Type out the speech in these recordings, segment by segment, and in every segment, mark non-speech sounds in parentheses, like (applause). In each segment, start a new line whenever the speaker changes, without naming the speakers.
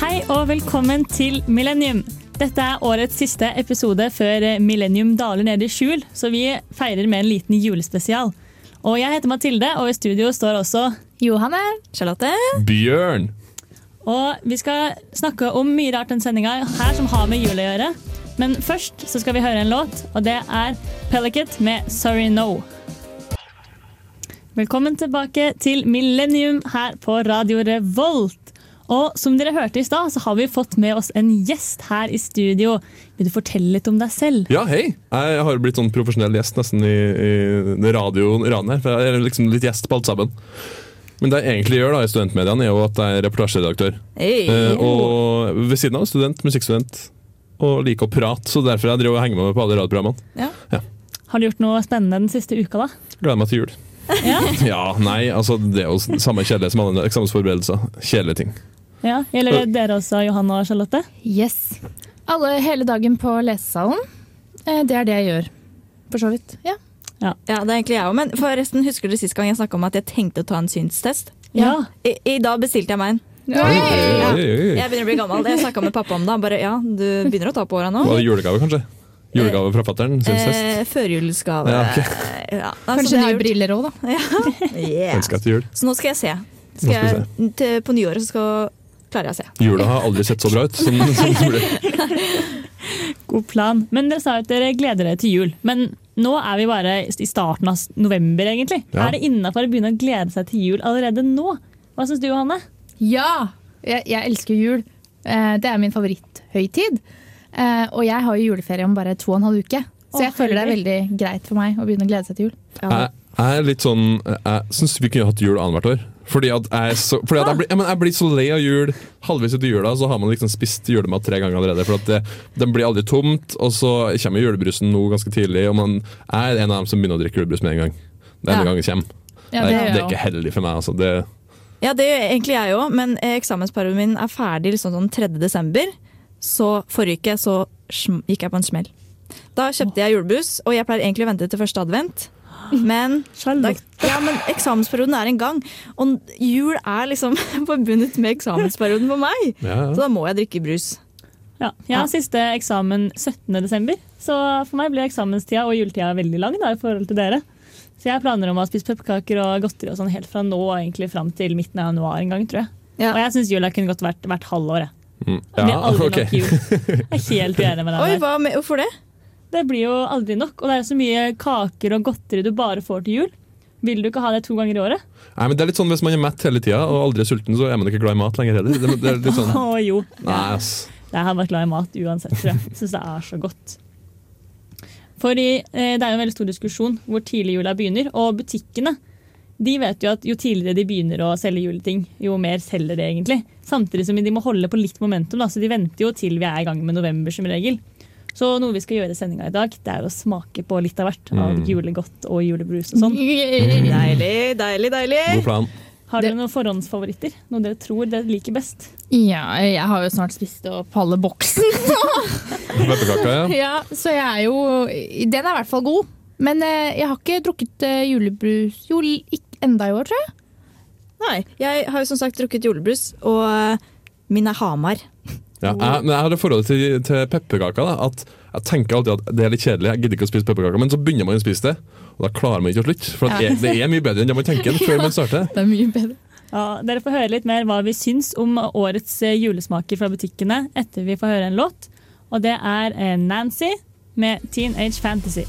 Hei og velkommen til Millennium. Dette er årets siste episode før eh, Millennium daler ned i skjul, så vi feirer med en liten julespesial. Og jeg heter Mathilde, og i studio står også
Johanne. Charlotte.
Bjørn!
Og vi skal snakke om mye rart den sendinga her som har med jul å gjøre. Men først så skal vi høre en låt, og det er Pellicat med 'Sorry No'. Velkommen tilbake til Millennium her på Radio Revolt. Og som dere hørte i stad, så har vi fått med oss en gjest her i studio. Vil du fortelle litt om deg selv?
Ja, hei! Jeg har blitt sånn profesjonell gjest nesten i, i radioen radioen her. For jeg er liksom litt gjest på alt sammen. Men det jeg egentlig gjør da i studentmediene, er jo at jeg er reportasjeredaktør. Eh, og ved siden av student, musikkstudent. Og liker å prate, så derfor jeg driver og henger med meg på alle radioprogrammene.
Har du gjort noe spennende den siste uka, da?
Gleder meg til jul.
Ja,
(laughs) Ja, nei, altså det er jo samme kjedelige som alle andre eksamensforberedelser. Kjedelige ting.
ja. Gjelder det dere også, Johanne og Charlotte?
Yes. Alle hele dagen på lesesalen. Eh, Det er det jeg gjør. For så vidt. Ja.
Ja, det er egentlig jeg òg. Men forresten, husker dere sist gang jeg snakka om at jeg tenkte å ta en synstest?
Ja.
I, i dag bestilte jeg meg en.
Oi, oi, oi, oi.
Jeg begynner å bli gammel. Jeg snakka med pappa om det. Han bare ja, du begynner å ta på åra nå.
Var det julegave, kanskje? Julegave fra fatter'n? Syns test.
Eh, Førjulsgave.
Ja, ok.
Ja, altså,
Kanskje
det
nye
er gjort.
briller òg, da.
(laughs) Yeah.
Ønsker etter jul.
Så nå skal jeg se.
Nå
Skal
skal
jeg, til, på nyåret så skal, klarer jeg å se.
Jula har aldri sett så bra ut som, som det gjorde.
God plan. Men dere sa jo at dere gleder dere til jul. Men nå er vi bare i starten av november, egentlig.
Ja.
Er det innafor å begynne å glede seg til jul allerede nå? Hva syns du, Johanne?
Ja! Jeg, jeg elsker jul. Eh, Det er min favoritthøytid. Eh, Og jeg har jo juleferie om bare to og en halv uke. Så
Å,
jeg føler det er veldig greit for meg å begynne å glede seg til jul.
Jeg, jeg er litt sånn Jeg syns vi kunne hatt jul annethvert år. Fordi at jeg, er så, fordi at jeg, blir, ja, men jeg blir så lei av jul. Halvveis ut i jula så har man liksom spist julemat tre ganger allerede. For at det, Den blir aldri tomt, og så kommer julebrusen nå ganske tidlig. Og man jeg er en av dem som begynner å drikke julebrus med en gang. Det er
Ja.
en gang det kommer.
Ja,
Nei,
det
det er
gjør jeg
ikke
òg.
heldig for meg. Altså. Det,
Ja, det gjør egentlig jeg òg, men eh, eksamensperioden min er ferdig liksom sånn 3. desember. Så forrige uke så sm gikk jeg på en smell. Da kjøpte jeg julebrus, og jeg pleier egentlig å vente til første advent. Men, da,
Charlotte.
ja, men eksamensperioden er en gang, og jul er liksom (laughs) forbundet med eksamensperioden for meg.
ja,
Så
ja.
da må jeg drikke brus.
Ja, jeg har siste eksamen 17.12., så for meg blir eksamenstida og juletida veldig lang da, i forhold til dere. Så jeg har planer om å spise pepperkaker og godteri og sånn helt fra nå og egentlig fram til midten av januar en gang, tror jeg.
Ja.
Og jeg syns jula kunne godt vært hvert halvår. jeg.
Mm.
Det blir aldri
ok.
nok jul. Jeg er helt
(laughs)
uenig med deg.
Oi,
der.
hva med, hvorfor det?
Det blir jo aldri nok, og det er jo så mye kaker og godteri du bare får til jul. Vil du ikke ha det to ganger i året?
Nei, men det er litt sånn Hvis man er mett hele tida og aldri er sulten, så er man ikke glad i mat lenger heller. Det, det er litt
(laughs)
sånn,
Å jo.
nei, ass.
Jeg har vært glad i mat uansett, tror jeg. Syns det er så godt. Fordi eh, Det er jo en veldig stor diskusjon hvor tidlig jula begynner. Og butikkene de vet jo at jo tidligere de begynner å selge juleting, jo mer selger de egentlig. Samtidig som de må holde på litt momentum, da, så de venter jo til vi er i gang med november som regel. Så noe vi skal gjøre i sendinga i dag, det er å smake på litt av hvert. Av
Mm.
julegodt og julebrus og sånn.
Deilig, deilig, deilig.
God plan.
Har dere
Det-
noen forhåndsfavoritter? Noe dere tror dere liker best?
(laughs) Ja, jeg har jo snart spist opp halve boksen.
Pepperkaker, ja.
(laughs) Ja, så jeg er jo Den er i hvert fall god. Men eh, jeg har ikke drukket eh, julebrus jo, ikke enda i år, tror jeg.
Nei, jeg har jo som sagt drukket julebrus, og eh, min er Hamar.
Ja, jeg, men jeg har det forholdet til, til pepperkaker. da, At jeg tenker alltid at det er litt kjedelig, jeg gidder ikke å spise pepperkaker. Men så begynner man å spise det, og da klarer man ikke å slutte. For at
Ja.
det er mye bedre enn det man tenker
(laughs)
før man starter.
Det er mye bedre.
Ja, dere får høre litt mer hva vi syns om årets eh, julesmaker fra butikkene etter vi får høre en låt. Og det er eh, Nancy med Teenage Fantasy.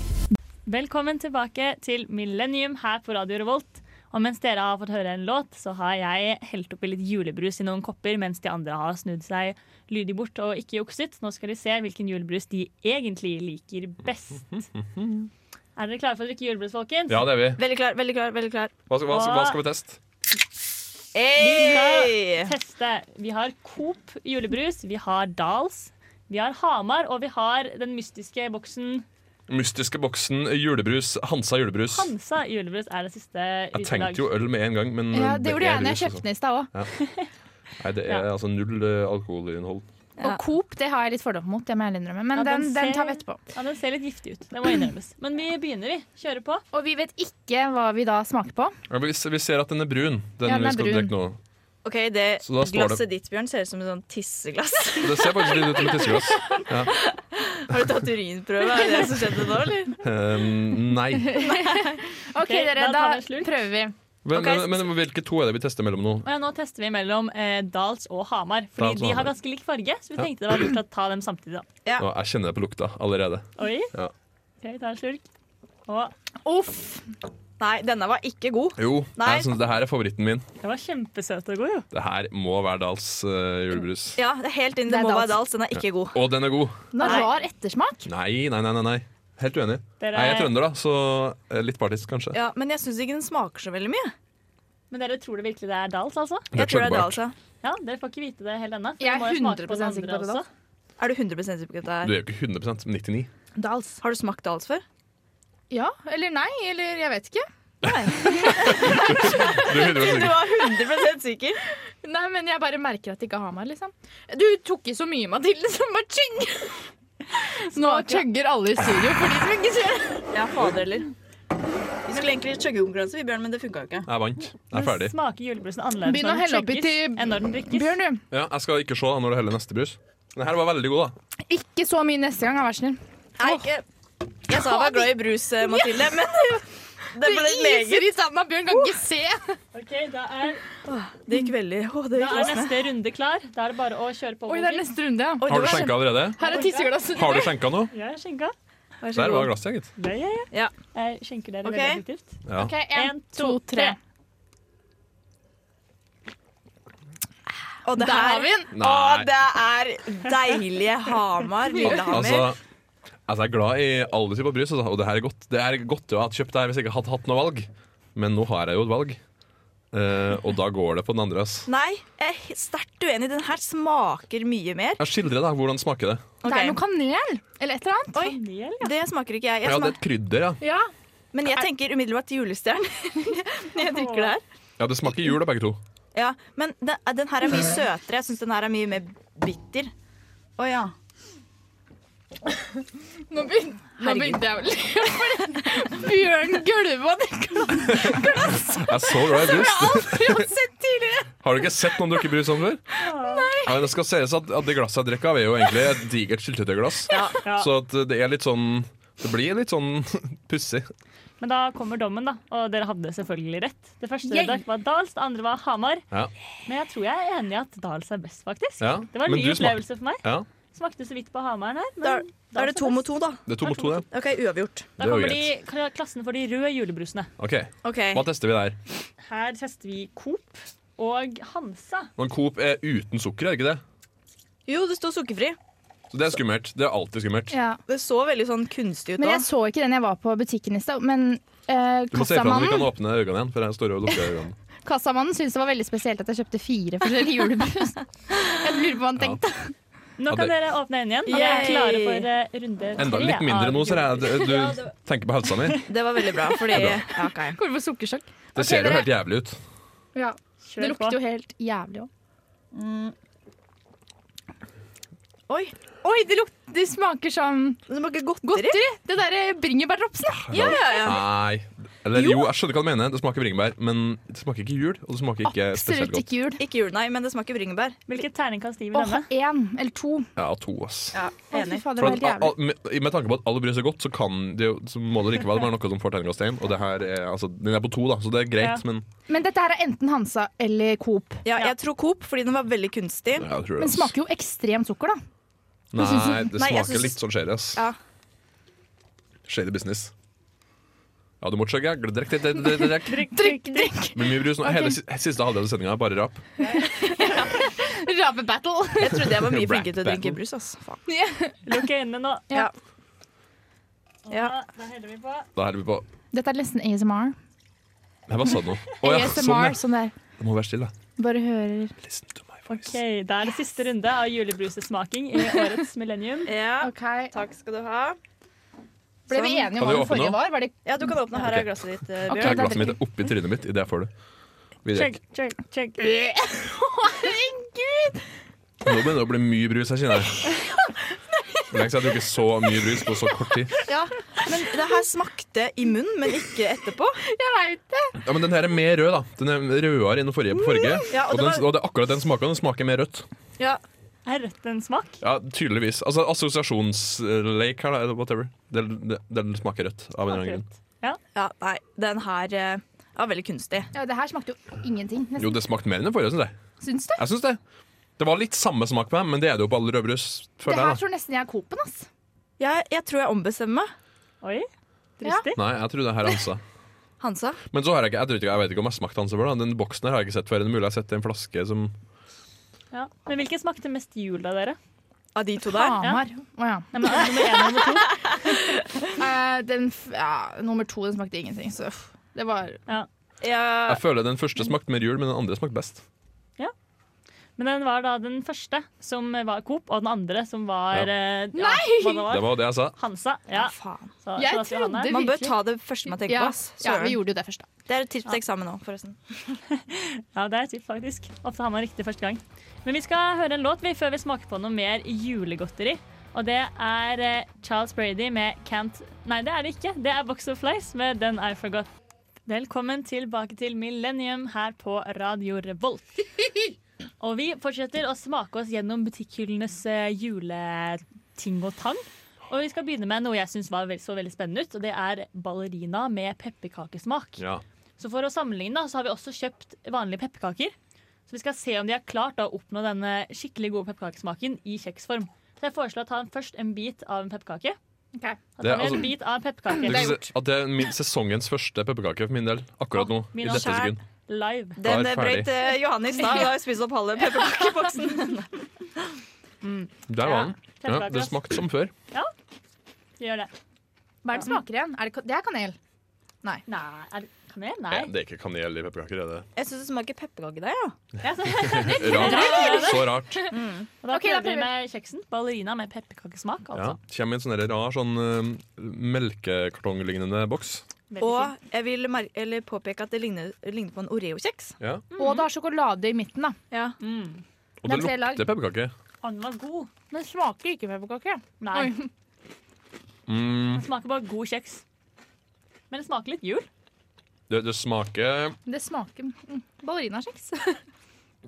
Velkommen tilbake til Millennium her på Radio Revolt. Og mens dere har fått høre en låt, så har jeg helt oppi litt julebrus i noen kopper, mens de andre har snudd seg lydig bort og ikke jukset. Nå skal de se hvilken julebrus de egentlig liker best. Er dere klare for å drikke julebrus, folkens?
det er vi.
Veldig klar, veldig klar, veldig klar.
Hva,
hva- hva skal
vi teste?
Hey!
teste. Vi har Coop julebrus, vi har Dals, vi har Hamar, og vi har den mystiske boksen
Mystiske boksen julebrus. Hansa julebrus.
Hansa julebrus er det siste
Jeg tenkte jo øl med en gang, men
Ja, det gjorde jeg
rus,
når jeg
altså.
kjøpte den i stad òg.
Nei, det er altså null eh, alkoholinnhold.
Og Coop det har jeg litt fordom mot, det må jeg ærlig innrømme. Men
Ja, den
den, den
ser-
tar vi etterpå.
Ja, den ser litt giftig ut. Det må innrømmes. Men vi begynner, vi. Kjører på.
Og vi vet ikke hva vi da smaker på.
Ja, Vi, vi ser at den er brun, den,
Ja, den
vi
er
skal
brun.
drikke nå.
Ok, det
Så da står
glasset
det-
ditt, Bjørn, ser ut som et sånn tisseglass. (laughs)
Det ser faktisk litt ut som et tisseglass. Ja.
Har du tatt urinprøve? Er det det som skjedde nå, eller?
Ehm,
(laughs)
nei.
Ok,
Ok,
dere,
da
da
tar vi en slurk.
prøver vi.
Men,
Ok,
men, men hvilke to er det vi tester mellom nå?
Og ja, nå tester vi mellom eh, Dals og Hamar, fordi
Dals
de
og
har
Hamar.
ganske lik farge. Så vi tenkte det var lurt å ta dem samtidig. da.
Nå, jeg kjenner det på lukta allerede.
Oi.
Ja.
Ok, ta en slurk. Å,
Uff.
Nei, denne var ikke god.
Jo,
Nei.
jeg synes det her er favoritten min.
det var kjempesøt og god, jo.
Det her må være Dals eh, julebrus.
Ja, det er helt inn.
Det
Det
er
må være
Dals.
Dals. Den er ikke god.
Og den er god.
Den har
Nei.
rar ettersmak.
Nei, nei, nei. nei, nei. Helt uenig.
Dere-
Nei, jeg er trønder, da, så eh, litt partisk, kanskje.
Ja, men jeg syns ikke den smaker så veldig mye.
Men dere tror det virkelig det er Dals, altså?
Det er
Jeg tror det er
trønderbart.
Dals, ja.
Ja, Dere får ikke vite det helt ennå. for
Jeg
dere
er
må jo smake på den
100% sikker på
andre
at det er
også.
Er du 100 sikker på
Du
at det er
er jo ikke 100 men 99.
Dals.
Har du smakt Dals
(laughs)
før?
Ja, eller nei, eller jeg vet ikke.
Du er 100
Du
sikker.
var 100 sikker?
Nei, men jeg bare merker at det ikke har meg, liksom. Du tok i så mye, Mathilde, som bare tjing! Nå chugger alle i studio for de som ikke ser det.
Ja, fader heller. Vi skulle egentlig chugge konkurranse, vi, Bjørn, men det funka jo ikke.
Jeg vant. Jeg
Den
er ferdig.
smaker julebrusen annerledes
Begynn å
når den
helle oppi
chugges
til-
enn når den drikkes.
Bjørn, du.
Ja, jeg skal ikke se da når du heller neste brus. Den her var veldig god, da.
Ikke så mye neste gang, vær så snill.
Nei, ikke. Jeg sa jeg var glad i brus, eh, Mathilde, men det ble litt leger.
i sanda, Bjørn kan ikke se.
Ok, Da er,
Det gikk veldig Å, det
da
gikk
er
raskt.
neste runde klar. Da er det bare å kjøre på.
Oi, det er
Bodil.
neste runde, ja.
Oi,
Har
det
du
var
skjenka allerede?
Her er tisseglasset.
Har du skjenka nå?
Ja, skjenka.
kjempe- Vær så
Der
god.
var glasset, gitt.
Ja, ja, ja.
Ja.
Jeg skjenker dere
Ok.
veldig effektivt.
Ja.
Ok, en, to, tre.
Og det
Der har
her
vi den.
Nei.
Å, det er deilige Hamar.
Altså,
Lillehammer.
altså, jeg er glad i alle typer brus, altså, og det her er godt. Det er godt å ha kjøpt det her hvis jeg ikke hadde hatt noe valg, men nå har jeg jo et valg. Eh, og da går det på den andre. ass.
Nei, jeg er sterkt uenig. Den her smaker mye mer.
Jeg skildrer da, hvordan smaker det.
Det
Ok.
er noe kanel, eller et eller annet.
Oi,
Kanel, ja.
det smaker ikke jeg. jeg
Ja, det er
smak,
et krydder, ja.
Ja.
men jeg tenker umiddelbart julestjerne (laughs) når jeg drikker det her.
ja. Det smaker jul, da, begge to.
Ja, men den, den her er mye søtere. Jeg syns den her er mye mer bitter. Å ja.
Nå begynte, nå begynte jeg å le. (laughs) fordi Bjørn gulva det
Jeg er så glad i brus.
aldri har sett tidligere.
Har du ikke sett noen drikke brus sånn før? Ja, men det skal sies at, at det glasset jeg drikker av, er jo egentlig et digert syltetøyglass.
Ja.
Så at det er litt sånn Det blir litt sånn (laughs) pussig.
Men da kommer dommen, da. Og dere hadde selvfølgelig rett. Det første
Yay.
dere drakk var Dals, det andre var Hamar.
Ja.
Men jeg tror jeg er enig i at Dals er best, faktisk.
Ja,
Det var en
men
ny
du smak-
opplevelse for meg.
Ja.
Smakte så vidt på Hamaren her. Men
Da, da er
Dals
det to
best.
mot to, da.
Det er to mot to, det.
OK, uavgjort.
Da
Det er jo
kommer de, kla- klassen for de røde julebrusene.
OK,
Ok,
hva tester vi der?
Her tester vi Coop og Hansa.
Men Coop er uten sukker, er det ikke det?
Jo, det står sukkerfri.
Så det er skummelt. Det er alltid skummelt.
Ja.
Det så veldig sånn kunstig ut
Men
da.
jeg så ikke den jeg var på butikken i stad. Men eh,
Du må se for deg at vi
kassamannen,
kan åpne øynene igjen, for jeg står og lukker
(laughs)
øynene.
kassamannen syntes det var veldig spesielt at jeg kjøpte fire forskjellige (laughs) julebrus. Jeg lurer på hva han tenkte.
Nå
Ja,
kan
det-
dere åpne øynene igjen. Og dere er
Yay!
klare for eh, runde tre.
Enda litt mindre
av
nå, ser jeg.
julebrus.
Du, du tenker på helsa
(laughs)
mi.
Det var veldig bra, fordi
Det er
ja, ok.
Går det for sukkersjokk?
Det ser jo helt jævlig ut.
Ja.
Kjør
Det
på.
lukter jo helt jævlig òg.
Oi,
Oi, det, luk det smaker som
det smaker godteri.
godteri! Det eh, derre bringebærropsen.
Ja, ja, ja.
Nei. Eller jo, jeg skjønner hva du mener. Det smaker bringebær, men det smaker ikke jul, og det smaker ikke spesielt
Absolutt
godt.
ikke jul.
Ikke jul, nei, men det smaker bringebær.
Hvilket terningkast gir vi
Åh,
denne?
én eller to. Å,
Ja, to, ass.
Ja,
fy
enig.
fader, det
For at,
var helt jævlig.
al- med, med tanke på at all brus er godt, så, kan det, jo- så må det likevel være noe som får terningkast én. Og det her er, altså, den er på to, da, så det er greit,
Ja.
men
Men dette her er enten Hansa eller Coop.
Ja, jeg tror Coop, fordi den var veldig kunstig.
ja, jeg tror det.
Men
ass.
smaker jo ekstremt sukker, da. (laughs)
Nei, det
Nei,
smaker
jeg synes-
litt sånn shady, ass.
Ja.
Shady business. Ja, du må chugge. Drikk, drikk, drikk, drikk, drikk.
Drikk, drikk!
Blir mye brus nå.
Ok.
Hele si- siste halvdel av sendinga er bare rap.
Rapebattle. (laughs)
Jeg trodde jeg var
(laughs)
mye flinkere til å
Rack
drikke
battle.
brus, ass. Faen.
Lukk øynene
(laughs)
nå.
Ja.
Og
Ja.
Da heller vi på.
Da heller vi på
Dette er nesten ASMR.
Nei, hva sa du nå? Å ja,
ASMR,
sånn,
sånn,
ja.
det er.
Det må være stille.
Bare hører
Listen to my
Ok, Da er det siste runde av julebrusesmaking i årets millennium.
Ja,
Ok.
takk skal du ha.
Ble vi
Sånn.
enige
Kan
om hva
vi
det
åpne
forrige
nå?
var? var (laughs) det...
Ja, du kan åpne. Her
Ok.
er glasset ditt, eh,
Ok,
Ja,
Bjørn.
da
glasset mitt er oppi trynet mitt. I det får du. Vi
Chug,
drikker.
chug, chug.
Herregud!
Nå begynner det å bli mye brus her, kjenner jeg. Det er Lenge siden jeg har drukket så mye brus
(laughs)
på så kort tid.
Ja,
Men det her smakte i munnen, men ikke etterpå.
jeg veit det.
Ja, men den her er mer rød, da. Den er rødere enn forrige på forrige.
Ja, og
og,
det
den,
var-
og det er akkurat den smaken. Den smaker mer rødt.
Ja.
Er rødt en smak?
Ja, tydeligvis. Altså assosiasjonslake her, da. eller Whatever. Den, den- den smaker rødt av en eller annen grunn.
Akkurat. Ja.
ja, nei, den her eh, var veldig kunstig.
Ja, det her smakte jo ingenting. nesten.
Jo, det smakte mer enn den forrige, syns jeg.
Syns du?
Jeg synes det. Det var litt samme smak på dem, men det er det jo på alle rødbrus.
Det
Føler
her
jeg, da.
tror nesten jeg er Coop-en, ass.
Jeg, jeg tror jeg ombestemmer meg.
Oi, dristig.
Nei, jeg tror det her er Hansa.
Hansa.
Men så har jeg ikke, jeg, tror ikke, jeg vet ikke om jeg smakte Hansa før. da. Den boksen her har jeg ikke sett før. Det er mulig jeg har sett i en flaske som
Ja. Men hvilken smakte mest jul av dere?
Av de to der.
Hamar. Å ja.
Nei, men, altså, nummer én og nummer to.
Eh, den f ja, nummer to den smakte ingenting, så uff. det var
Ja.
Ja,
Jeg føler den første smakte mer jul, men den andre smakte best.
Men den var da den første som var Coop, og den andre som var eh, ja, hva det
Det
var.
var jo det jeg sa.
Hansa. Ja.
faen.
Så,
Jeg
så da skal
trodde
Hanne.
Man bør
virkelig.
ta det første man tenker
ja,
på. Ass.
ja, vi
Søren.
gjorde jo det først, da.
Det er et tips til eksamen nå, forresten.
Ja, det er et tipp, faktisk. Ofte har man riktig første gang. Men vi skal høre en låt vi før vi smaker på noe mer julegodteri. Og det er eh, Charles Brady med Can't Nei, det er det ikke. Det er Box of Flies med Then I Forgot. Velkommen tilbake til Millennium her på Radio Revolt. Og vi fortsetter å smake oss gjennom butikkhyllenes eh, juleting og tang. Og vi skal begynne med noe jeg syns var vel- så veldig spennende ut, og det er ballerina med pepperkakesmak.
Ja.
Så for å sammenligne da, så har vi også kjøpt vanlige pepperkaker. Så vi skal se om de har klart da, å oppnå denne skikkelig gode pepperkakesmaken i kjeksform. Så jeg foreslår å ta en, først en bit av en pepperkake. Da
Det er
tar vi
altså-
en bit av en
Du
pepperkake.
kan se at det er min, sesongens første pepperkake for min del. Akkurat nå. I
Min
dette
skjær.
sekund.
Live.
Da er
Den eh,
ferdig.
brøt eh, Johanne i stad. Da har jeg spist opp halve pepperkakeboksen.
Der var den. Ja,
pepperkaker,
det
ass.
smakte som før.
Gjør det.
Hva er det smaker igjen? Er det, ka- det er kanel.
Nei, er det kanel? Nei.
Ja, det er ikke kanel i pepperkaker. Er det
Jeg syns det smaker pepperkake der, ja.
Ja, så- (laughs)
(laughs) rart? Så rart.
Og da
Ok, da
prøver vi
prøver vi.
med kjeksen. Ballerina med pepperkakesmak,
Ja.
altså.
Kommer i en sånn der rar sånn eh, melkekartonglignende boks.
Veldig fin.
Og jeg vil mar eller påpeke at det ligner, ligner på en Oreo-kjeks.
Ja.
Og det har sjokolade i midten, da.
Ja.
Og
Det
det
er tre lag.
lukter pepperkake.
Å, den var god.
Den smaker ikke pepperkake.
Nei,
Mm,
den smaker bare god kjeks. Men det smaker litt jul.
det, det smaker
Det smaker mm, (laughs) ballerinakjeks.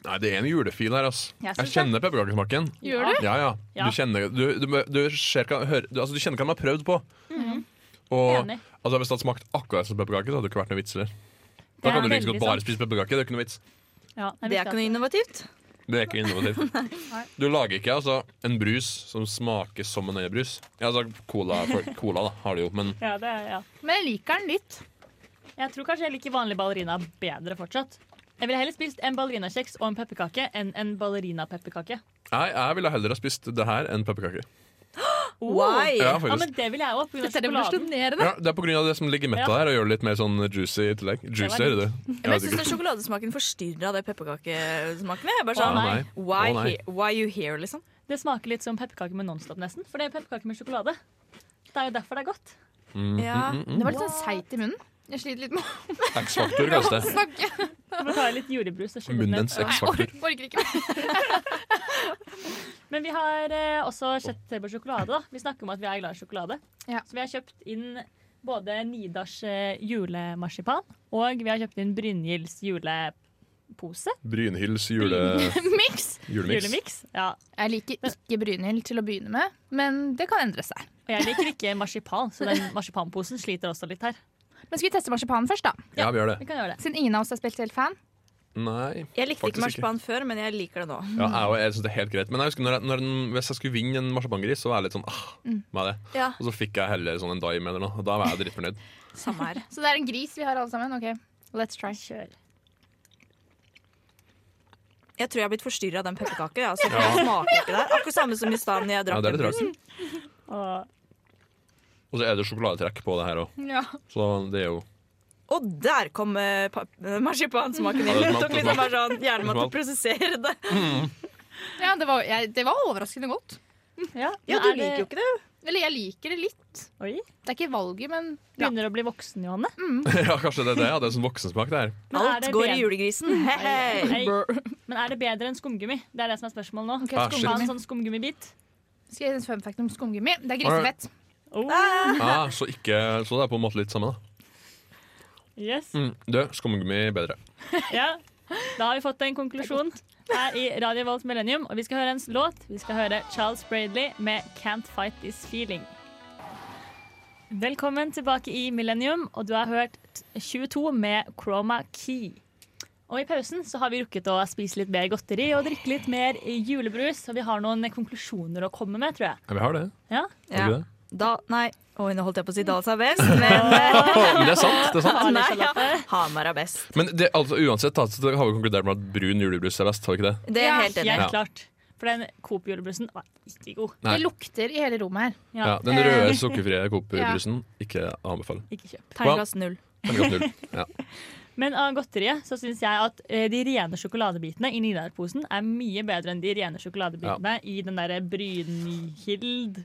Nei, det er en julefil her, altså.
Jeg synes
Jeg,
det.
kjenner pepperkakesmaken.
Gjør
Ja.
du?
Ja, ja.
Ja.
Du kjenner du, du, du, ser hva, hører, du, altså, du kjenner hva de har prøvd på. Og
Mhm. Enig.
altså, Hvis det hadde smakt akkurat som pepperkake, så hadde det ikke vært noe vits. Eller?
Det
Da
er
kan du like
veldig
godt bare
sant.
spise pepperkake. Det er ikke noe vits.
Ja, jeg
Det er
visste
ikke noe
at-
innovativt.
Det
(laughs)
er ikke innovativt. Du lager ikke altså, en brus som smaker som en øyebrus. Ja, altså, cola, for, cola da, har du jo, men
Ja, det er, ja.
Men jeg liker den litt.
Jeg tror kanskje jeg liker vanlig ballerina bedre fortsatt. Jeg ville heller spist en ballerinakjeks og en pepperkake enn en ballerinapepperkake.
jeg, jeg ville heller ha spist det her enn pepperkake.
Why?
Ja,
Oh. Ja, men
faktisk.
det vil jeg òg, pga.
Dette er
sjokoladen.
revolusjonerende.
Ja, det er på grunn av det som ligger i metta
Ja.
her, og gjør det litt mer sånn juicy i tillegg. Juicy,
var
er det det?
Men jeg
vet
syns
ikke.
den sjokoladesmaken forstyrra det pepperkakesmaken. Jeg er bare
Å,
sånn,
nei.
why,
Å, nei.
he- why you here, liksom?
Det smaker litt som pepperkake med Nonstop, nesten. For det er pepperkake med sjokolade. Det er jo derfor det er godt.
Mm,
Ja.
Det var litt sånn seigt i munnen. Jeg sliter litt med (laughs) å
X-faktor, kalles det.
snakke.
Så må ta litt jordbrus og skylle den
Munnens
ned.
X-faktor.
Orker orker ikke.
Men vi har eh, også kjøtt til på sjokolade. da. Vi snakker om at vi er glad i sjokolade.
Ja.
Så vi har kjøpt inn både Nidars eh, julemarsipan og vi har kjøpt inn Brynjilds julepose.
Brynhilds jule,
(laughs) Miks.
julemiks.
Julemiks. Ja.
Jeg liker ikke Brynhild til å begynne med, men det kan endre seg.
Og jeg liker ikke marsipan, så den marsipanposen sliter også litt her.
Men skal vi teste marsipanen først, da?
Ja, vi gjør det.
Vi kan gjøre det.
Siden ingen av oss er spesielt fan.
Nei.
Jeg likte
Faktisk
ikke marsipan før, men jeg liker det nå.
Ja, jeg, og jeg synes det er helt greit. Men jeg husker når jeg, når den, hvis jeg skulle vinne en marsipangris, så var jeg litt sånn ah, hva er det?
Ja.
Og så fikk jeg heller sånn en daim eller noe. Og da var jeg dritfornøyd.
Samme her.
Så det er en gris vi har alle sammen. Ok, let's try.
Kjør.
Jeg tror jeg har blitt forstyrra av den pepperkaka. Ja, så det smaker ikke der. Akkurat samme som i stad når jeg
Ja,
drakk
det er litt
den. Mm.
rart.
Og
Og så er det sjokoladetrekk på det her òg,
Ja.
så det er jo (laughs)
Og der kom eh, pa- marsipansmaken inn.
Ja, det
Det tok
smakte
liksom bare sånn Hjernen måtte
Smalt.
prosessere det.
Ja, det var, jeg, det var overraskende godt.
ja,
Ja,
men
du
er det-
liker jo ikke det.
Eller jeg liker det litt.
Oi,
Det er ikke valget, men ja.
begynner å bli voksen, Johanne.
Ja, kanskje det er det. Ja, det er sånn voksensmak, det her.
Men er
Alt
det
går i
bedre-
julegrisen. Hei, hei.
Nei, men er det bedre enn skumgummi? Det er det som er spørsmålet nå.
Ok,
Ah, shit.
Ha en
skumgummi.
sånn skumgummibit.
Skal jeg gi en fun fact om skumgummi? Det er grisefett.
Oh,
Ah, så, ikke, så det er på en måte litt samme, da.
Yes.
Mm, du, skumgummi bedre.
Ja. Da har vi fått en konklusjon her i Radio Volt Millennium. Og vi skal høre en låt. Vi skal høre Charles Bradley med 'Can't Fight This Feeling'. Velkommen tilbake i Millennium, og du har hørt 22 med Chroma Key. Og I pausen så har vi rukket å spise litt mer godteri og drikke litt mer julebrus. Og vi har noen konklusjoner å komme med, tror jeg.
Ja, vi har det.
Ja,
Har vi
Ja.
det?
Da, nei, oi, nå holdt jeg på å si Dals er best, men eh,
Men det er sant. det er sant.
Arne
Ah, nei, ja.
Charlotte.
Hamar er best.
Men det, altså, uansett da, så har vi konkludert med at brun julebrus er best. har vi ikke det?
Det er
Ja.
helt enig.
Helt
Ja.
klart. For den Coop-julebrussen var ikke god.
Nei.
Det lukter i hele rommet her.
Ja,
Ja, Den
Eh.
røde sukkerfrie Coop-brusen ikke å anbefale.
Ikke kjøp.
Terningkast null.
Terningkast null. Ja.
Men av godteriet så syns jeg at eh, de rene sjokoladebitene i Nidar-posen er mye bedre enn de rene sjokoladebitene i den derre Brynhild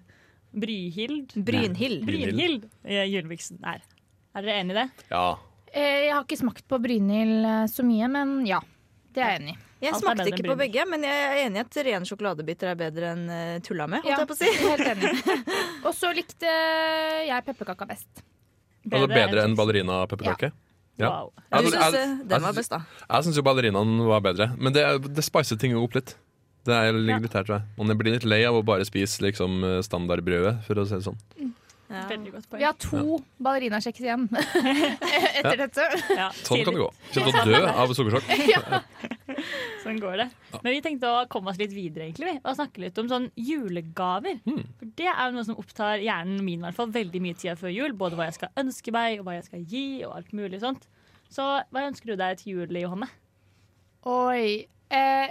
Bryhild?
Brynhild.
Brynhild eh, Juleviksen er. Er dere enig i det?
ja.
Eh, Jeg har ikke smakt på Brynhild eh, så mye, men ja. Det er jeg enig i.
Jeg
Alt er
smakte
bedre enn
ikke på
Brynhild.
begge, men jeg er enig i at rene sjokoladebiter er bedre enn eh, tulla med.
Ja,
Holdt jeg på å si.
Helt enig. (laughs) Og så likte jeg pepperkaka best.
Altså bedre enn
chips.
ballerina-pepperkake? Ja.
Wow.
Ja,
Du
men altså,
syns
jeg-
eh, den var best, da.
Jeg syns jo ballerinaen var bedre, men det, det spicer ting opp litt. Det er, ligger litt her, tror jeg. Man blir litt lei av å bare spise liksom, standardbrødet, for å si det sånn.
Ja.
Veldig godt poeng.
Vi har to ballerinakjeks igjen (laughs) etter dette.
Ja,
Sånn kan det
tidlig.
gå. Kommer til å dø av sukkersjokk.
Sånn går det. Men vi tenkte å komme oss litt videre egentlig, vi, og snakke litt om sånn julegaver.
Hmm.
For det er jo noe som opptar hjernen min i hvert fall veldig mye tida før jul. Både hva jeg skal ønske meg, og hva jeg skal gi, og alt mulig sånt. Så hva ønsker du deg til jul, Johanne?
Oi. Eh,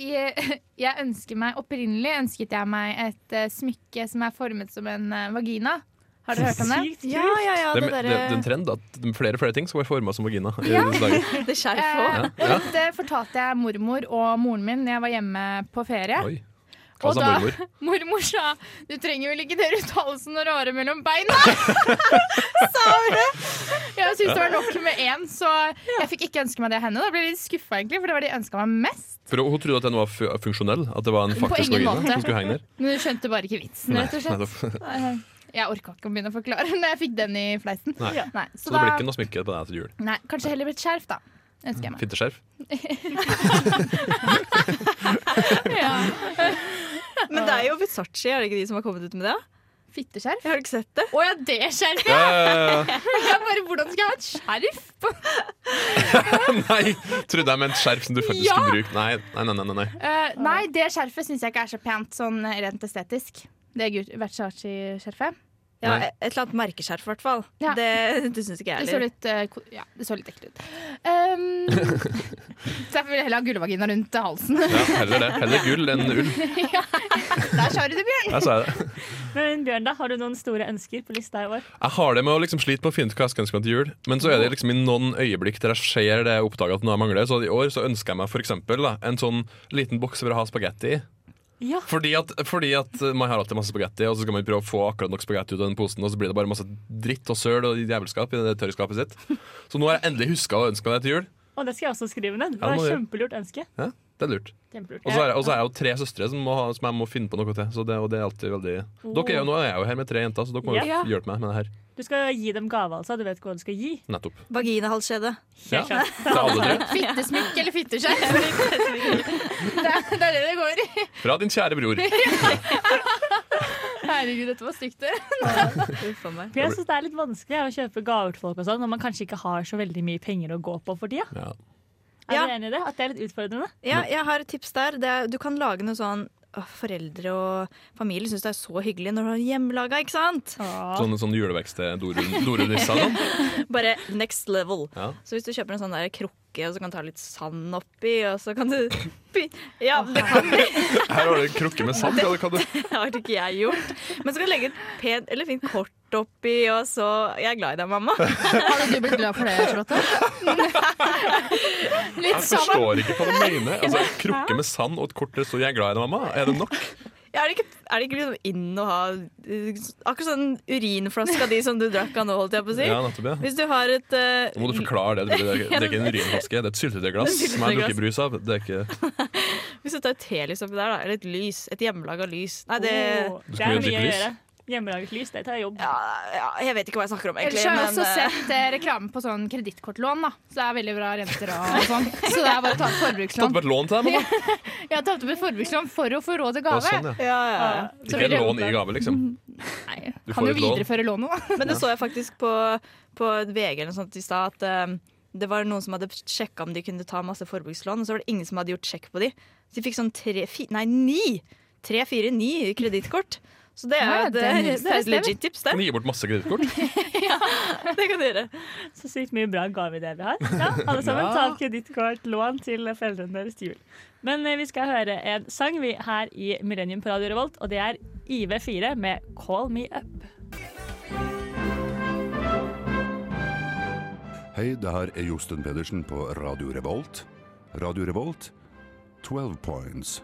jeg, jeg ønsker meg Opprinnelig ønsket jeg meg et eh, smykke som er formet som en eh, vagina. Har dere hørt om det?
Sykt
Ja, ja, ja,
Det,
det eh.
er- det, det er en
derre
trend at flere og flere ting skal være forma som vagina. i disse
(laughs)
dager.
Det skjerf
Eh,
òg.
og dette fortalte jeg mormor og moren min da jeg var hjemme på ferie.
Oi. Hva
Og
sa
da-
mormor?
Mormor sa 'du trenger vel ikke den uttalelsen og rare mellom beina'. (laughs) Jeg syntes det var nok med én, så jeg fikk ikke ønske meg det av henne. Da ble jeg litt skuffa, egentlig, for det var det jeg ønska meg mest.
For hun trodde at den var fu- funksjonell. At det var en faktisk
ingen
vagina
måte.
som skulle henge der.
Men hun skjønte bare ikke vitsen,
Nei,
rett og slett.
nettopp. (laughs)
Jeg orka ikke å begynne å forklare når jeg fikk den i fleisen.
Nei.
Ja.
Nei,
Så det blir ikke noe smykke på deg til jul.
Nei, kanskje heller et skjerf, da. Ønsker jeg meg.
Fitteskjerf.
Ja.
Men det er jo Versace, er det ikke de som har kommet ut med det?
Fitteskjerf?
Jeg har ikke sett det.
Å ja, det skjerfet!
Eh,
Jeg bare, hvordan skal jeg ha et skjerf? på?
(laughs) nei! Trodde jeg mente skjerf som du faktisk
Ja.
skulle bruke. Nei, nei, nei. nei, nei.
Eh, nei, det skjerfet syns jeg ikke er så pent sånn rent estetisk. Det Gu- Versace-skjerfet.
Ja,
Nei.
et eller annet merkeskjerf, i hvert fall.
Ja.
Det, det syns ikke
Det
jeg
så
heller.
litt, eh, ko- ja, det så litt ekkelt ut. Um, (laughs) så jeg vil heller ha gullvagina rundt
(laughs)
halsen.
Ja, heller det. Heller gull enn ull.
Der sa du det, Bjørn!
Jeg sa det.
Men Bjørn, da, har du noen store ønsker på lista i år?
Jeg har det med å liksom slite med å finne ut hva jeg skal ønske meg til jul. Men så er det liksom i noen øyeblikk der jeg ser det jeg oppdager at noe jeg mangler. Så i år så ønsker jeg meg for eksempel, da, en sånn liten boks for å ha spagetti i.
Ja.
Fordi at, fordi at eh, man har alltid masse spagetti, og så skal man prøve å få akkurat nok spagetti ut av den posen, og så blir det bare masse dritt og søl og jævelskap i det tørrskapet sitt. Så nå har jeg endelig huska å ønske meg det til jul.
Og det skal jeg også skrive ned. Det
Ja, det
var
må du
et
gjøre.
kjempelurt ønske.
Ja, det er lurt.
Kjempelurt.
Og så er, og så er jeg jo tre søstre som, må ha, som jeg må finne på noe til. Så det, og det er alltid veldig Dere er jo, Nå er jeg jo her med tre jenter, så dere må jo
Ja.
hjelpe meg med det her.
Du skal gi dem gave, altså. Du vet hva du skal gi.
Nettopp.
(laughs)
Vaginahalskjede.
Ja,
Helt
(laughs)
klart.
til
(laughs)
alle tre.
Fittesmykk eller fitteskjerf? det, er- det er det det går i.
Fra din kjære bror.
Herregud, dette var stygt. det.
Uff a meg.
For jeg synes det er litt vanskelig å kjøpe gaver til folk og sånn, når man kanskje ikke har så veldig mye penger å gå på for tida.
Ja.
Er
Ja.
dere enig i det? At det er litt utfordrende?
Ja, jeg har et tips der. Det er, du kan lage noe sånn Åh, Foreldre og familie syns det er så hyggelig når du har hjemmelaga, ikke sant?
Sånn, sånn julevekst til dorull- dorullnisser. og sånn.
Bare next level.
Ja.
Så hvis du kjøper en sånn der krukke, og så kan du ta litt sand oppi, og så kan du (laughs) py- Ja, det kan
Her har du en krukke med sand. Hva kan du
har ikke jeg gjort. Men så kan du legge et pent eller fint kort oppi, og så Jeg er glad i deg, mamma.
Hadde du blitt glad for det,
(laughs)
Charlotte? Litt
Jeg
sammen.
forstår ikke hva du mener. Altså, en krukke med sand og et kort der det står 'jeg er glad i deg, mamma'. Er det nok?
Ja, er, det ikke, er det ikke liksom inn å ha eh, Akkurat sånn urinflaska di som du drakk av nå, holdt jeg på å si.
Ja, nettopp, ja.
Hvis du har et eh,
Nå må du forklare det. Det er det er ikke en urinflaske, det er et syltetøyglass
Det er et
som jeg
syltetøyglass.
drukker brus av. Det er ikke,
Hvis du tar et telys oppi der, da, eller et lys, et hjemmelaga lys Nei, det
Åh,
Du
det
skal
er mye
jo
å
drikke lys.
gjøre. Hjemmelaget lys, det tar jobb.
Ja, ja, jeg vet ikke hva jeg snakker om,
Ellers
egentlig.
har jeg også
men, eh,
sett eh, reklame på sånn kredittkortlån, da. Så det er veldig bra renter og, (laughs) og sånn. Så det er bare å ta opp
Tatt
forbrukslån.
opp et lån til deg? mamma?
Jeg tar opp et forbrukslån for å få råd
Å,
til gave.
sånn, ja.
ja, ja, ja.
Så
Ikke
blir
et
det
lån i gave, liksom.
Nei,
Du
kan
får
jo
et lån.
videreføre lånet, da.
Men det så jeg faktisk på, på VG eller noe sånt i stad, at eh, det var noen som hadde sjekka om de kunne ta masse forbrukslån, og så var det ingen som hadde gjort sjekk på de. Så de fikk sånn tre, fi, nei, ni! Tre, fire, ni kredittkort. Så det er jo
Ja,
et, eh,
det er
det,
nytt
er
tips,
et
det.
legit tips,
(laughs)
det.
Kan du gi bort masse kredittkort?
Det kan du gjøre.
Så sykt mye bra gaveideer vi har. Ja, alle sammen,
Ja.
ta opp kredittkort, lån til foreldrene deres til jul. Men eh, vi skal høre en sang vi her i Millennium på Radio Revolt, og det er IV4 med 'Call Me Up'.
Hei, det her er Josten Pedersen på Radio Revolt. Radio Revolt, 12 points.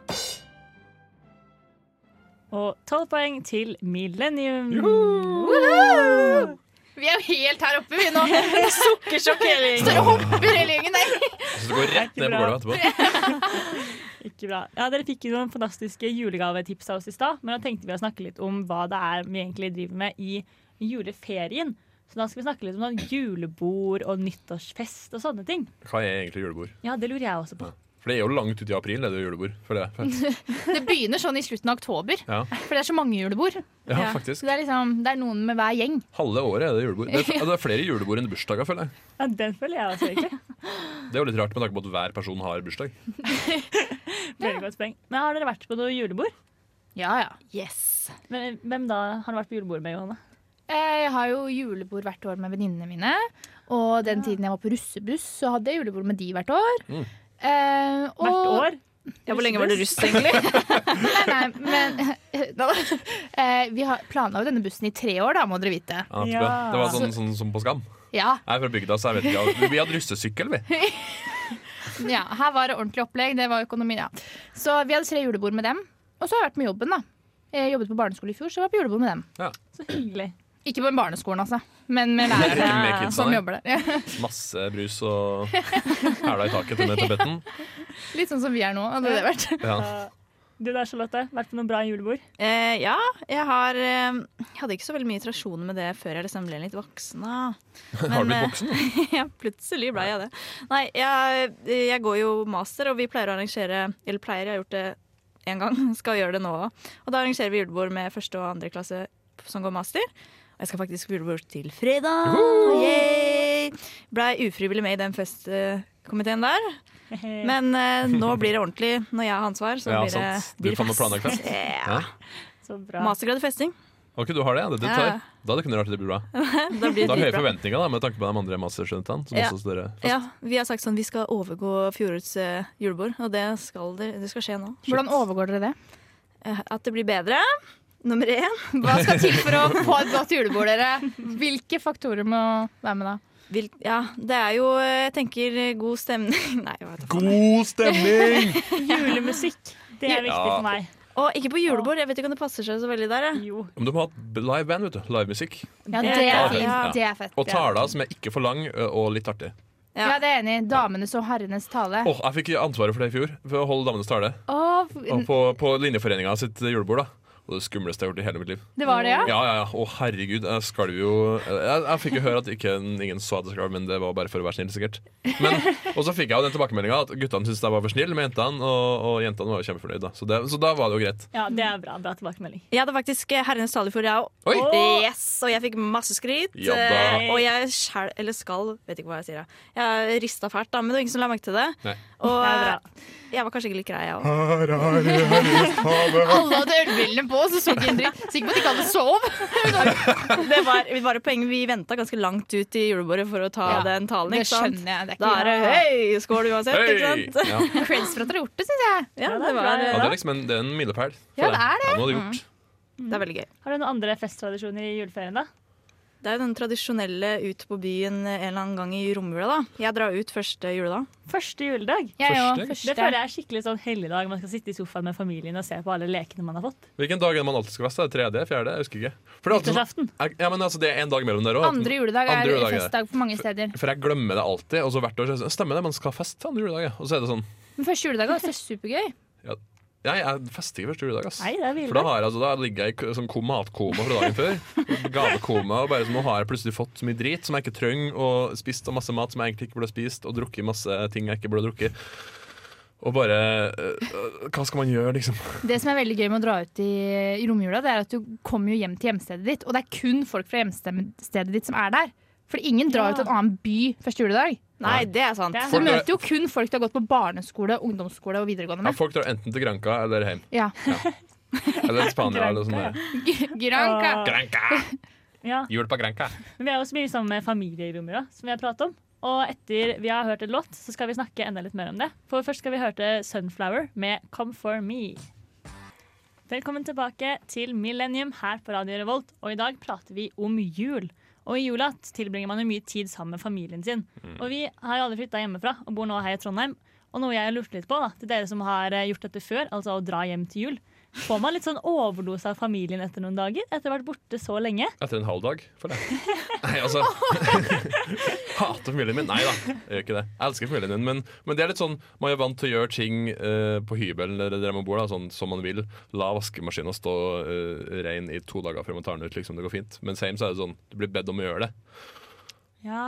Og tolv poeng til Millennium.
(laughs) Vi er jo helt her oppe, (laughs) vi nå.
Sukkersjokkering!
Står og hopper hele gjengen der.
Så det går rett ned på
Bra.
gulvet etterpå.
(laughs) Ikke bra. Ja, Dere fikk jo noen fantastiske julegavetips av oss i stad, men da tenkte vi å snakke litt om hva det er vi egentlig driver med i juleferien. Så da skal vi snakke litt om sånn julebord og nyttårsfest og sånne ting.
Hva er egentlig julebord?
Ja, det lurer jeg også på.
For det er jo langt ut i april, det er jo julebord. For det.
Det begynner sånn i slutten av oktober,
Ja.
for det er så mange julebord.
ja,
Ja.
faktisk.
Så det er liksom, det er noen med hver gjeng.
Halve året er det julebord. Det er, det er flere julebord enn bursdager, føler jeg.
Ja, Den føler jeg også,
(laughs)
egentlig.
Det er jo litt rart med tanke på at hver person har bursdag.
Veldig godt poeng. Men har dere vært på noe julebord?
Ja, ja. Yes.
Men Hvem da har dere vært på julebord med, Johanne?
Eh, Jeg har jo julebord hvert år med venninnene mine. Og den tiden jeg var på russebuss, så hadde jeg julebord med de hvert år.
Mm.
Eh, og,
Hvert år?
Ja, hvor lenge var det russ,
(laughs)
egentlig?
Nei, nei, (laughs) men da, eh, Vi har planla jo denne bussen i tre år, da, må dere vite.
Ja, type.
Ja.
Det var sånn, sånn som på Skam.
Ja,
Jeg er fra bygda, så jeg vet ikke. Vi hadde russesykkel, vi.
ja Her var det ordentlig opplegg. Det var økonomi, ja. Så vi hadde tre julebord med dem. Og så har jeg vært med jobben, da. Jeg jobbet på barneskole i fjor, så jeg var på julebord med dem.
Så hyggelig.
Ikke på barneskolen, altså, men med
Ikke
lærere
med kidsa,
som
nei.
jobber der.
Masse brus og hæla i taket til tapetten.
Litt sånn som vi er nå, hadde det vært.
Ja.
Så- Du der, Charlotte. Vært på noe bra julebord?
(laughs) Eh, ja, jeg har eh, Jeg hadde ikke så veldig mye tradisjoner med det før jeg liksom ble litt voksen. Da.
(laughs) Har du
Men, eh,
blitt voksen?
(laughs) ja, plutselig ble jeg det. Nei, jeg, jeg går jo master, og vi pleier å arrangere Eller pleier, jeg har gjort det én gang, (laughs) skal gjøre det nå òg. Og da arrangerer vi julebord med første og andre klasse som går master. Og jeg skal faktisk på julebord til fredag! Yay! Blei ufrivillig med i den festkomiteen der. Men eh, nå blir det ordentlig når jeg har ansvar. Så
Ja,
blir det,
sant. Du
blir det
faen meg planlagt fest.
Ja.
Ja.
Så bra.
Mastergrad i festing.
Ok, du har det, ja. Det
Ja.
tar. Da hadde det kunnet vært litt bra.
Da blir
Da
det
har høye
dritbra.
forventninger da, med tanke på de andre masterstudentene. Som
Ja.
også studerer.
Ja, vi har sagt sånn vi skal overgå fjorårets eh, julebord, og det skal, det, det skal skje nå.
(laughs) Hvordan overgår dere det?
Eh, At det blir bedre, nummer én.
Hva skal til for å få et godt julebord, dere? Hvilke faktorer må være med da?
Vil, ja, det er jo, eh, jeg tenker, eh, god stemning. (laughs) Nei, jeg vet ikke.
God stemning!
(laughs) Julemusikk. Det er viktig
Ja.
for meg.
Og ikke på julebord, jeg vet ikke om det passer seg så veldig der. jeg.
Jo.
Men du må ha et live band, vet du. Livemusikk.
Ja,
Det
det
er
er
klart.
fint.
Ja.
Det er fett.
Og taler som er ikke for lang ø, og litt artig.
Ja, det er jeg enig. i. Damenes og herrenes tale.
Åh, Jeg fikk ansvaret for det i fjor, for å holde damenes tale.
Åh,
Og på, på Linjeforeninga sitt julebord. da Og Det skumleste jeg har gjort i hele mitt liv.
det var det, ja?
Ja, ja, ja. Å, herregud. Jeg skalv jo Jeg, jeg fikk jo høre at ikke, ingen så at jeg skalv, men det var bare for å være snill, sikkert. Men, og så fikk jeg jo den tilbakemeldinga at guttene syntes jeg var for snill med jentene, og, og jentene var jo kjempefornøyd, da. Så, det, så da var det jo greit.
Ja, det er bra. Bra tilbakemelding.
Jeg hadde faktisk eh, herrenes tale for jeg òg.
Oi!
Åh!
Yes, og jeg fikk masse skryt.
Ja da.
eh, Og jeg skjel, eller skal, vet ikke hva jeg sier. jeg. Jeg rista fælt, da, men det var ingen som la merke til det.
Nei.
Og
Det er bra.
eh, jeg var kanskje ikke litt grei, jeg òg.
(laughs)
Alle hadde ølbrillene på, så så ikke en dritt. Sikker på at de ikke alle sov.
Det var, det var et poeng. Vi venta ganske langt ut i julebordet for å ta
Ja,
den talen.
Det
Ikke sant?
skjønner jeg. Det er
Da er det
ikke
hei, skål uansett, ikke
Hei!
sant?
Ja.
Creds for at dere har gjort det, syns jeg.
Ja,
Ja, det
det,
er
var, eh,
bra,
Ja,
det
det er liksom en, det er en milepæl. for
Ja, det
deg.
er det. Mm.
Ja, nå har du gjort.
er veldig gøy.
Har du noen andre festtradisjoner i juleferien, da?
Det er jo den tradisjonelle ut på byen en eller annen gang i romjula, da. Jeg drar ut første juledag.
Første juledag.
Jeg
Første?
òg.
Det føler jeg er skikkelig sånn helligdag. Man skal sitte i sofaen med familien og se på alle lekene man har fått.
Hvilken dag er det man alltid skal feste? Er det Tredje? Fjerde? Jeg husker ikke. For det, er alltid
Nyttårsaften.
sånn, ja, men altså, det er en dag mellom der òg.
Andre juledag
Andre
er
juledag er det.
festdag for mange steder.
For jeg glemmer det alltid. Og så hvert år så er det sånn, stemmer det, man skal ha fest til andre juledag. ja. Og så er det sånn
Men første juledag er også supergøy.
Ja, jeg fester ikke første juledag, ass.
Nei, det er
For da
vildt.
har jeg, altså, da ligger jeg i k- sånn ko- matkoma fra dagen før. (laughs) Gavekoma. og bare så Nå har jeg plutselig fått så mye drit som jeg ikke trenger, og spist og masse mat som jeg egentlig ikke burde ha spist, og drukket masse ting jeg ikke burde ha drukket. Og bare øh, øh, Hva skal man gjøre, liksom?
Det som er veldig gøy med å dra ut i, i romjula, det er at du kommer jo hjem til hjemstedet ditt. Og det er kun folk fra hjemstedet ditt som er der. For ingen drar jo til en annen by første juledag.
Nei, det er sant.
Det er
Folk
Du (laughs)
sant.
drar-
møter jo kun folk du har gått på barneskole, ungdomsskole og videregående
Ja,
med.
folk drar enten til Granca eller hjem.
Ja. (laughs)
Eller Spania eller sånn. der.
Granca.
Granca!
Ja.
Jul på Granca.
Men vi er også mye sammen med familie i romjula, som vi har pratet om. Og etter vi har hørt et låt, så skal vi snakke enda litt mer om det. For først skal vi høre 'Sunflower' med 'Come For Me'. Velkommen tilbake til Millennium her på Radio Revolt, og i dag prater vi om jul. Og i jula tilbringer man jo mye tid sammen med familien sin. Og vi har jo aldri flytta hjemmefra og bor nå her i Trondheim. Og noe jeg lurte litt på, da, til dere som har eh, gjort dette før, altså å dra hjem til jul. Får man litt sånn overdose av familien etter noen dager? Etter å ha vært borte så lenge?
Etter en halv dag, føler jeg. Nei, altså (laughs) Hater familien min. Nei da, jeg gjør ikke det. Jeg elsker familien min, men, men det er litt sånn man er vant til å gjøre ting eh, på hybelen eller der man bor, da, sånn som man vil. La vaskemaskina stå eh, rein i to dager før man tar den ut, liksom. Det går fint. Mens hjemme så er det sånn, du blir bedt om å gjøre det.
Ja.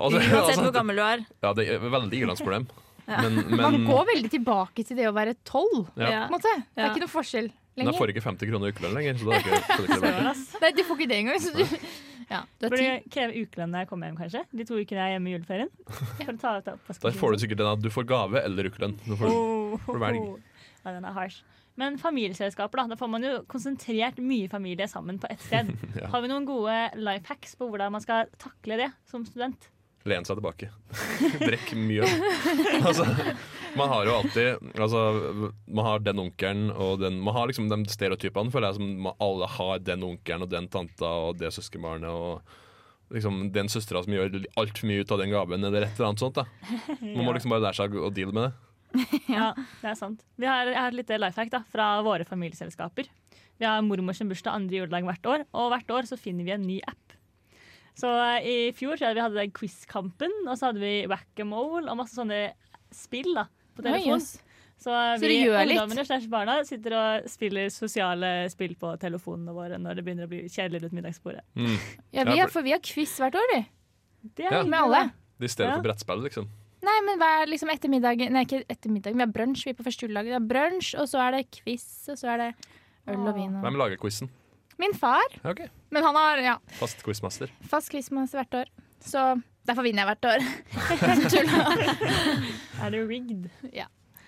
Altså,
Uansett hvor
altså,
gammel du er.
ja, det er et veldig ilandsproblem. Men,
Man
men
går veldig tilbake til det å være tolv.
ja.
Ja.
på en måte. Det er
Ja.
ikke noe forskjell
Men jeg
lenger.
får ikke 50 kroner i ukelønn lenger. Så da er det ikke, så det er ikke det
(laughs)
verdt det.
Nei, du får ikke det engang. Så du, ja, du er
Burde
ti.
jeg kreve ukelønn når jeg kommer hjem, kanskje? De to ukene jeg er hjemme i
(laughs)
juleferien. For å ta ut
Da får du sikkert den at du får gave eller ukelønn. Nå får du-
Oh.
får du velge.
Oh, Ja, den er harsh. Men familieselskaper, da. Da får man jo konsentrert mye familie sammen på ett sted.
(laughs) Ja.
Har vi noen gode life hacks på hvordan man skal takle det som student?
Len seg tilbake. Brekk mye. Altså, man har jo alltid altså, Man har den onkelen og den Man har liksom de stereotypene, føler jeg, som man, alle har den onkelen og den tanta og det søskenbarnet og liksom den søstera som gjør altfor mye ut av den gaven, eller et eller annet sånt. da Man må liksom bare lære seg å deale med det.
Ja, det er sant. Vi har, jeg har et lite life hack da, fra våre familieselskaper. Vi har mormors bursdag andre juledag hvert år, og hvert år så finner vi en ny app. Så eh, i fjor så hadde vi hadde Quizkampen, og så hadde vi Whack-a-Mole og masse sånne spill da, på
Oi,
telefon.
jøss.
Så, eh,
Så
vi
det gjør litt.
ungdommene slash barna sitter og spiller sosiale spill på telefonene våre når det begynner å bli kjedelig rundt middagsbordet.
Mm.
Ja, vi har, for vi har quiz hvert år, vi.
Det er
Ja.
hyggelig,
Med alle.
da.
Det er I stedet
Ja.
for brettspill, liksom.
Nei, men hver liksom ettermiddag Nei, ikke ettermiddag, vi har brunsj vi på første juledag. Vi har brunsj, og så er det quiz, og så er det øl og vin. Og...
Hvem lager quizen?
Min far.
Ja, OK.
Men han har ja,
Fast quizmaster.
fast quizmaster hvert år. Så derfor vinner jeg hvert (laughs) år. Tull.
Er det rigged?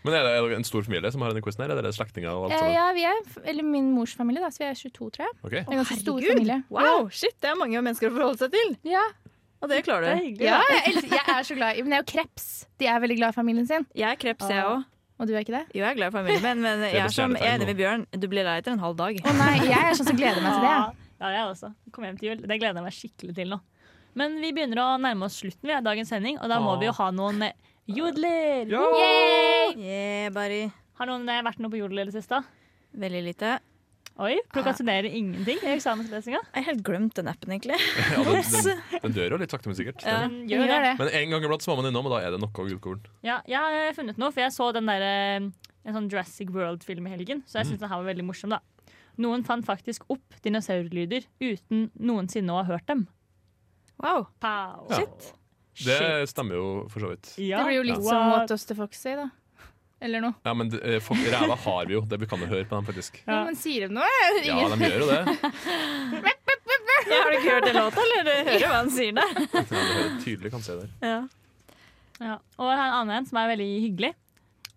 Men er det en stor familie som har denne quizen her? Eller er det slektninger og alt
Eh,
sammen?
ja, vi er, eller min mors familie, da, så vi er 22, tror jeg.
Ok.
Det er en ganske stor
Herregud.
familie.
Wow, shit, det er mange mennesker å forholde seg til.
Ja,
Og det
Det er
klarer du.
hyggelig.
ja
da.
jeg, elsker, jeg er så glad i Men det er jo kreps. De er veldig glad i familien sin.
Jeg er kreps, jeg òg.
Og du er ikke det?
Jo, jeg er glad i familien min, men jeg
på
er som
stjernetegn
enig
nå.
med Bjørn. Du blir lei etter en halv dag.
Å nei, jeg er sånn som gleder meg til det. jeg.
Ja, jeg også. Kom hjem til jul. Det gleder jeg meg skikkelig til nå. Men vi begynner å nærme oss slutten ved dagens sending, og da må
Åh.
vi jo ha noen eh, jodler.
Ja!
Yeah, buddy.
Har noen eh, vært noe på jodel i det siste?
Veldig lite.
Oi, prokrastinerer ingenting i eksamenslesinga?
Jeg har helt glemt den appen, egentlig.
Ja, den, den, den dør jo litt sakte, men sikkert.
Ja.
Den gjør det.
Men en gang iblant så må man innom, og da er det noe gullkorn.
Ja, jeg har eh, funnet noe, for jeg så den der, eh, en sånn Jurassic World-film i helgen,
Mm.
så jeg syntes den her var veldig morsom, da. Noen fant faktisk opp dinosaurlyder uten noensinne å ha hørt dem.
Wow.
Pow.
Ja.
Shit.
Det stemmer jo for så vidt.
Ja.
Det blir jo litt
What?
som What Does the Fox Say, da. Eller noe.
Ja, men det- eh, folk, ræva har vi jo. Det vi kan jo høre på dem, faktisk.
Ja.
Jo, men sier de noe?
Ja,
Ingen.
de gjør jo det.
Ja, har du ikke hørt den låta, (laughs) eller hører du hva han sier der?
Ja, det hører tydelig kan se der.
Ja. (laughs)
Ja. Og jeg har en annen en som er veldig hyggelig.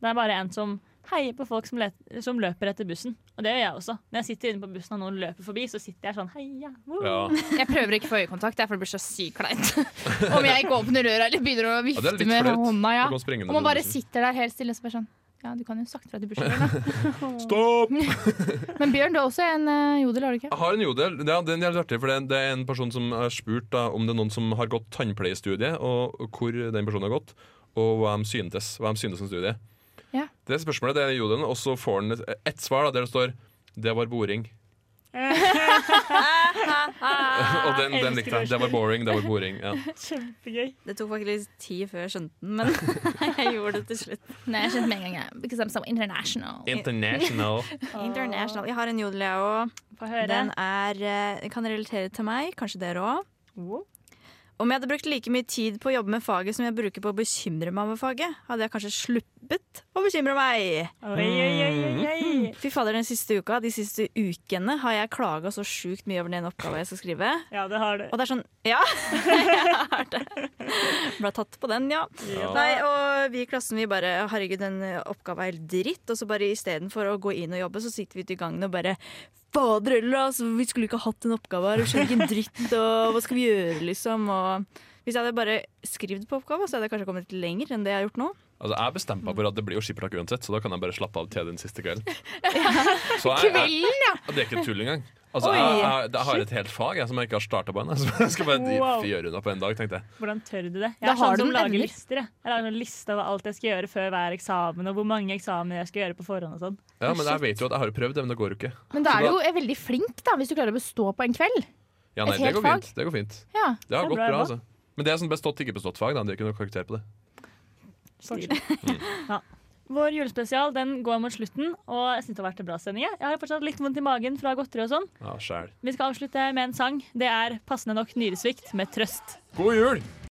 Det er bare en som heier på folk som, let- som løper etter bussen. Og det gjør jeg også. Når jeg sitter inne på bussen og noen løper forbi, så sitter jeg sånn heia. woo.
Ja.
Jeg prøver ikke å få øyekontakt, det er for det blir så sykt kleint. (laughs) Om jeg ikke åpner røra eller begynner å
Ja, det er
vifte
litt
med
flaut.
hånda. Ja.
Du kan springe ned
Og man bare
bussen.
sitter der helt stille og så bare sånn Ja, du kan jo sakte fra til bursdagen. da.
Stopp!
Men Bjørn, du har også en eh, jodel, har du ikke?
Jeg har en jodel. Ja, den er litt artig, for det er- det er en person som har spurt da, om det er noen som har gått tannpleiestudiet, og hvor den personen har gått, og hva de syntes, hva de syntes om studiet.
Ja.
Det spørsmålet det er jodelen, og så får han et, et svar da, der det står 'det var boring'. (laughs) Og den,
elsker
den likte jeg. Det var boring. Det var boring ja.
Kjempegøy.
Det tok faktisk tid før jeg skjønte den, men (laughs) jeg gjorde det til slutt.
Nei, jeg skjønte med en gang. jeg, Because I'm so international.
International.
International. Jeg har en jodel, jeg òg.
Få høre.
Den er, eh, kan relatere til meg, kanskje dere òg. Om jeg hadde brukt like mye tid på å jobbe med faget som jeg bruker på å bekymre meg over faget, hadde jeg kanskje sluppet å bekymre meg.
Mm.
Oi, oi, oi, oi, oi.
Fy fader, den siste uka, de siste ukene har jeg klaga så sjukt mye over den ene oppgava jeg skal skrive.
Ja, det har du.
Og det er sånn Ja, (laughs) jeg har det. Ble tatt på den, ja.
Ja.
Nei, og vi i klassen vi bare Herregud, den oppgaven er helt dritt. Og så bare istedenfor å gå inn og jobbe, så sitter vi ute i gangen og bare Fader heller, altså, vi skulle ikke hatt en oppgave her, vi skjønner ikke en dritt, og hva skal vi gjøre, liksom? Og hvis jeg hadde bare skrevet på oppgaven, så hadde jeg kanskje kommet litt lenger enn det jeg har gjort nå.
Altså, jeg bestemte meg for at det blir jo skippertak uansett, så da kan jeg bare slappe av til den siste kvelden. Så jeg, jeg,
Kvelden, ja!
det er ikke tull engang. Altså,
Oi,
jeg, jeg, jeg har et helt fag jeg, som jeg ikke har starta på ennå. (laughs) Så jeg skal bare
Wow.
gjøre unna på en dag, tenkte jeg.
Hvordan tør du det? Jeg
Da
er
har
sånn som
du noen
lager
evner.
lister. Jeg. jeg lager en liste over alt jeg skal gjøre før hver eksamen, og hvor mange eksamener jeg skal gjøre på forhånd og sånn.
Ja, men jeg vet jo at jeg har jo prøvd det, men det går jo ikke.
Men da er du jo er veldig flink, da, hvis du klarer å bestå på en kveld.
Ja,
Et
nei, det
helt
går
fag?
fint. Det går fint. Det
Ja.
har
Det er
gått
bra
bra,
jobba.
altså. Men det er sånn bestått, ikke bestått fag. Da. Det er ikke noe karakter på det.
(laughs) Ja. Vår julespesial den går mot slutten, og jeg synes det har vært en bra sending. Jeg Jeg har fortsatt litt vondt i magen fra godteri og sånn.
Ja, sjæl.
Vi skal avslutte med en sang. Det er passende nok nyresvikt med 'Trøst'.
God jul!